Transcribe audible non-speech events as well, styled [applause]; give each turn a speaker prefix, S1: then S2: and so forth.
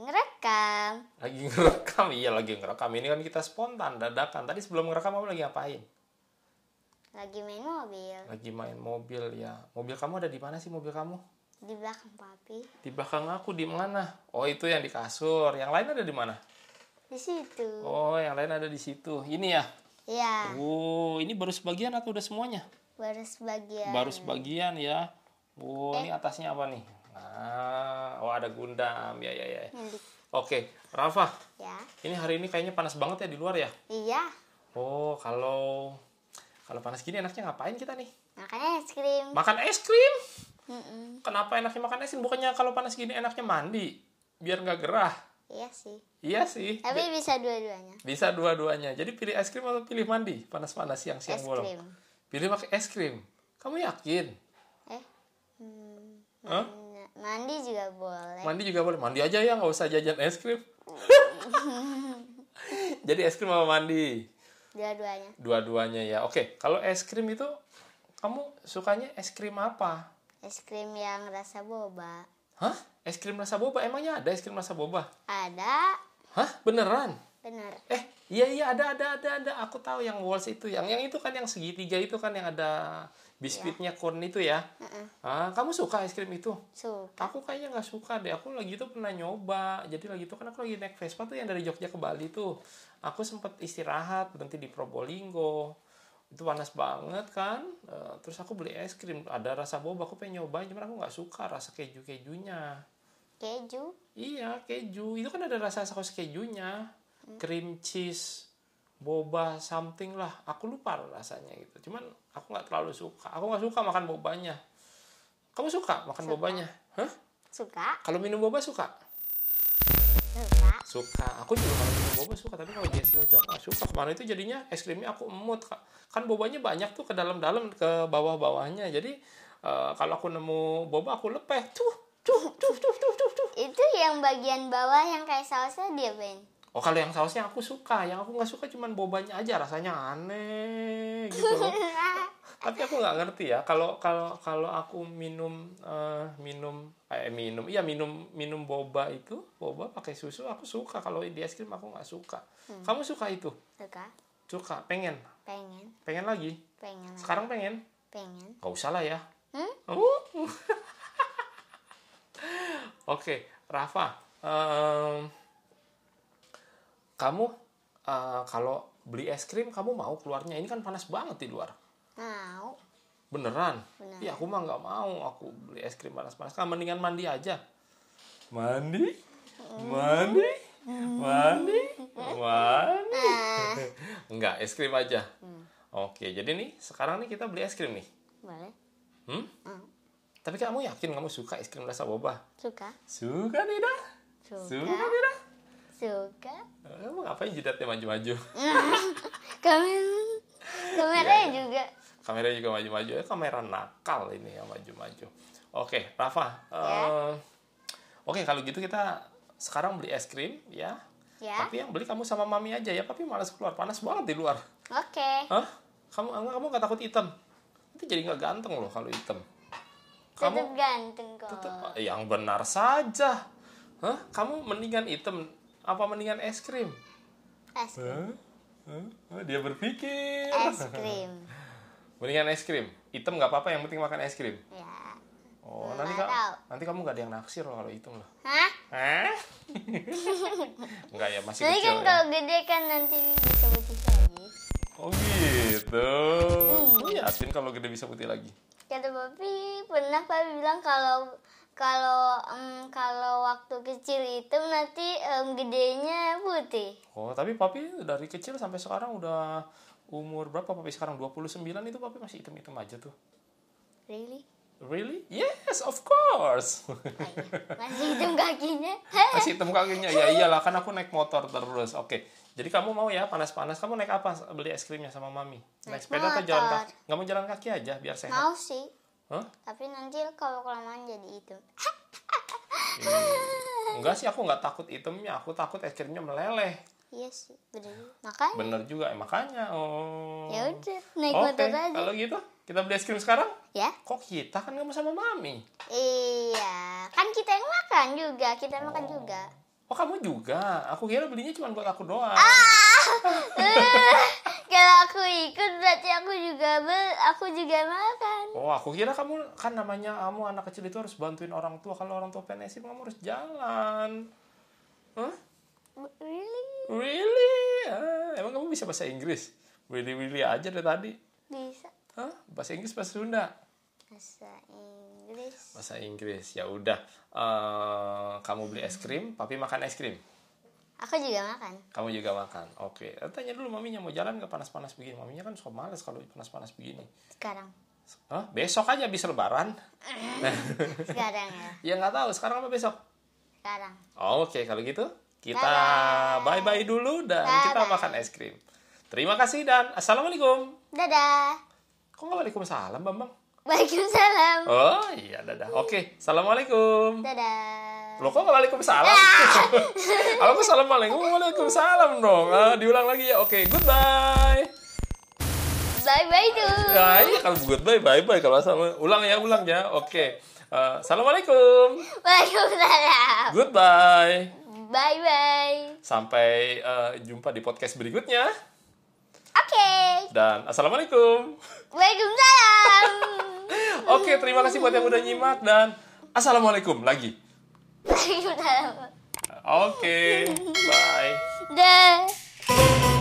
S1: ngerekam.
S2: Lagi ngerekam, iya lagi ngerekam. Ini kan kita spontan, dadakan. Tadi sebelum ngerekam kamu lagi ngapain?
S1: Lagi main mobil.
S2: Lagi main mobil ya. Mobil kamu ada di mana sih mobil kamu?
S1: Di belakang papi.
S2: Di belakang aku di mana? Oh itu yang di kasur. Yang lain ada di mana?
S1: Di situ.
S2: Oh yang lain ada di situ. Ini ya.
S1: Iya.
S2: Wow ini baru sebagian atau udah semuanya?
S1: Baru sebagian.
S2: Baru sebagian ya. Wow ini atasnya apa nih? Nah, oh ada Gundam ya ya ya.
S1: Yang di-
S2: Oke, Rafa,
S1: Ya.
S2: ini hari ini kayaknya panas banget ya di luar ya.
S1: Iya.
S2: Oh kalau kalau panas gini enaknya ngapain kita nih?
S1: Makan es krim.
S2: Makan es krim.
S1: Mm-mm.
S2: Kenapa enaknya makan es krim? Bukannya kalau panas gini enaknya mandi biar nggak gerah?
S1: Iya sih.
S2: Iya sih.
S1: Tapi bisa dua-duanya.
S2: Bisa dua-duanya. Jadi pilih es krim atau pilih mandi panas-panas
S1: Es
S2: siang-siang bolong.
S1: krim.
S2: Pilih pakai es krim. Kamu yakin?
S1: Eh. Hmm.
S2: Hah?
S1: Nah, Mandi juga boleh.
S2: Mandi juga boleh. Mandi aja ya, nggak usah jajan es
S1: [laughs]
S2: krim. Jadi es krim sama mandi.
S1: Dua-duanya.
S2: Dua-duanya ya. Oke, kalau es krim itu kamu sukanya es krim apa?
S1: Es krim yang rasa boba.
S2: Hah? Es krim rasa boba? Emangnya ada es krim rasa boba?
S1: Ada.
S2: Hah? Beneran?
S1: Bener.
S2: Eh, iya iya ada ada ada ada. Aku tahu yang walls itu, yang yang itu kan yang segitiga itu kan yang ada biskuitnya corn itu ya.
S1: Heeh.
S2: Ah, kamu suka es krim itu?
S1: Suka.
S2: Aku kayaknya nggak suka deh. Aku lagi itu pernah nyoba. Jadi lagi itu kan aku lagi naik Vespa tuh yang dari Jogja ke Bali tuh. Aku sempat istirahat berhenti di Probolinggo. Itu panas banget kan. Eh, terus aku beli es krim. Ada rasa boba. Aku pengen nyobain. Cuman aku nggak suka rasa keju kejunya.
S1: Keju.
S2: Iya keju. Itu kan ada rasa saus kejunya. Cream cheese boba something lah aku lupa rasanya gitu cuman aku nggak terlalu suka aku nggak suka makan bobanya kamu suka makan bobanya hah
S1: Suka.
S2: kalau minum boba suka?
S1: Suka.
S2: Suka. Aku juga kalau minum boba suka, tapi kalau di es krim itu aku gak suka. Kemarin itu jadinya es krimnya aku emut. Kak. Kan bobanya banyak tuh ke dalam-dalam, ke bawah-bawahnya. Jadi eh, kalau aku nemu boba aku lepeh. Tuh, tuh, tuh, tuh, tuh, tuh, tuh.
S1: Itu yang bagian bawah yang kayak sausnya dia Ben. [laughs]
S2: Oh kalau yang sausnya aku suka, yang aku nggak suka cuman bobanya aja rasanya aneh gitu loh.
S1: [laughs]
S2: tapi aku nggak ngerti ya kalau kalau kalau aku minum eh, minum eh minum iya minum minum boba itu boba pakai susu aku suka kalau di es krim aku nggak suka kamu suka itu
S1: Suka.
S2: suka pengen
S1: Pengen.
S2: pengen lagi
S1: Pengen.
S2: sekarang pengen
S1: Pengen.
S2: nggak usah lah ya
S1: Hmm?
S2: Uh. [laughs] oke Rafa em, kamu eh, kalau beli es krim kamu mau keluarnya ini kan panas banget di luar
S1: Mau.
S2: Beneran?
S1: Beneran.
S2: Iya, aku mah nggak mau. Aku beli es krim panas-panas. Kan mendingan mandi aja. Mandi? Mandi? Mandi? Mandi?
S1: Nah.
S2: Enggak, es krim aja. Oke, jadi nih sekarang nih kita beli es krim nih.
S1: Boleh.
S2: Hmm?
S1: Hmm.
S2: Tapi kamu yakin kamu suka es krim rasa boba?
S1: Suka.
S2: Suka nih dah. Suka
S1: Suka.
S2: nih dah.
S1: Suka.
S2: Kamu ngapain jidatnya maju-maju? [laughs]
S1: Kamer
S2: Iya.
S1: kameranya juga.
S2: Kamera juga maju-maju. Eh, kamera nakal ini yang maju-maju. Oke, Rafa. eh, Oke, kalau gitu kita sekarang beli es krim ya.
S1: Ya.
S2: Tapi yang beli kamu sama mami aja ya. Papi malas keluar, panas banget di luar.
S1: Oke.
S2: Hah? Kamu kamu kamu nggak takut hitam? Nanti jadi nggak ganteng loh kalau hitam.
S1: Tetap
S2: Kamu eh,
S1: ganteng kok.
S2: yang benar saja. Hah? Kamu mendingan hitam apa mendingan es krim? Iya.
S1: Es krim.
S2: Dia berpikir.
S1: Es krim.
S2: Mendingan es krim. Hitam nggak apa-apa, yang penting makan es krim.
S1: Ya.
S2: Oh, nanti, ka-
S1: Nggak tahu.
S2: nanti kamu nggak ada yang naksir loh kalau hitam loh.
S1: Hah?
S2: [laughs] Hah? Enggak ya, masih
S1: Nanti kan
S2: kecil ya.
S1: kalau gede kan nanti bisa putih lagi.
S2: Oh gitu. Lu yakin kalau gede bisa putih lagi?
S1: Kata papi pernah papi bilang kalau kalau em, kalau waktu kecil itu nanti em, gedenya putih.
S2: Oh, tapi papi dari kecil sampai sekarang udah umur berapa papi sekarang 29 itu papi masih hitam-hitam aja tuh.
S1: Really?
S2: Really? Yes, of course.
S1: Oh, iya. Masih hitam kakinya.
S2: masih hitam kakinya. Ya iyalah kan aku naik motor terus. Oke. Jadi kamu mau ya panas-panas kamu naik apa beli es krimnya sama mami? Naik,
S1: Naik
S2: sepeda atau jalan
S1: motor.
S2: kaki? Nggak mau jalan kaki aja biar sehat.
S1: Mau sih,
S2: Hah?
S1: tapi nanti kalau kelamaan jadi hitam.
S2: Enggak sih, aku nggak takut itemnya, aku takut es krimnya meleleh.
S1: Iya sih, bener. Makanya
S2: Bener juga, eh, makanya. Oh.
S1: ya udah naik
S2: Oke,
S1: motor aja.
S2: kalau gitu kita beli es krim sekarang.
S1: Ya?
S2: Kok kita kan kamu sama mami?
S1: Iya, kan kita yang makan juga, kita makan juga.
S2: Oh kamu juga? Aku kira belinya cuma buat aku doang. Oh.
S1: [laughs] Kalau aku ikut berarti aku juga bel, aku juga makan.
S2: Oh aku kira kamu kan namanya kamu anak kecil itu harus bantuin orang tua. Kalau orang tua PNS kamu harus jalan. Hah?
S1: Really?
S2: Really? Ah, emang kamu bisa bahasa Inggris? Willy Willy aja dari tadi.
S1: Bisa
S2: Hah? Bahasa Inggris bahasa Sunda?
S1: bahasa Inggris.
S2: Bahasa Inggris. Ya udah. Eh, kamu beli es krim, papi makan es krim.
S1: Aku juga makan.
S2: Kamu juga makan. Oke. Eh, Tanya dulu maminya mau jalan nggak panas-panas begini. Maminya kan suka males kalau panas-panas begini.
S1: Sekarang.
S2: Hah? Besok aja habis lebaran.
S1: Sekarang ya.
S2: Ya nggak tahu. Sekarang apa besok?
S1: Sekarang.
S2: Oke, kalau gitu kita bye-bye dulu dan kita makan es krim. Terima kasih dan assalamualaikum.
S1: Dadah.
S2: Kok nggak waalaikumsalam, Bambang?
S1: Waalaikumsalam.
S2: Oh iya, dadah. Oke, assalamualaikum.
S1: Dadah.
S2: Loh kok nggak waalaikumsalam? Aku assalamualaikum, waalaikumsalam dong. Ah, diulang lagi ya. Oke, goodbye.
S1: Bye bye tuh.
S2: Ya, iya, kalau goodbye, bye-bye. Kalau assalamualaikum, ulang ya, ulang ya. Oke. Eh, assalamualaikum.
S1: Waalaikumsalam.
S2: Goodbye.
S1: Bye bye.
S2: Sampai eh, jumpa di podcast berikutnya.
S1: Oke.
S2: Dan assalamualaikum.
S1: Waalaikumsalam.
S2: Oke, terima kasih buat yang udah nyimak dan assalamualaikum lagi.
S1: Waalaikumsalam.
S2: Oke, bye.
S1: Dadah.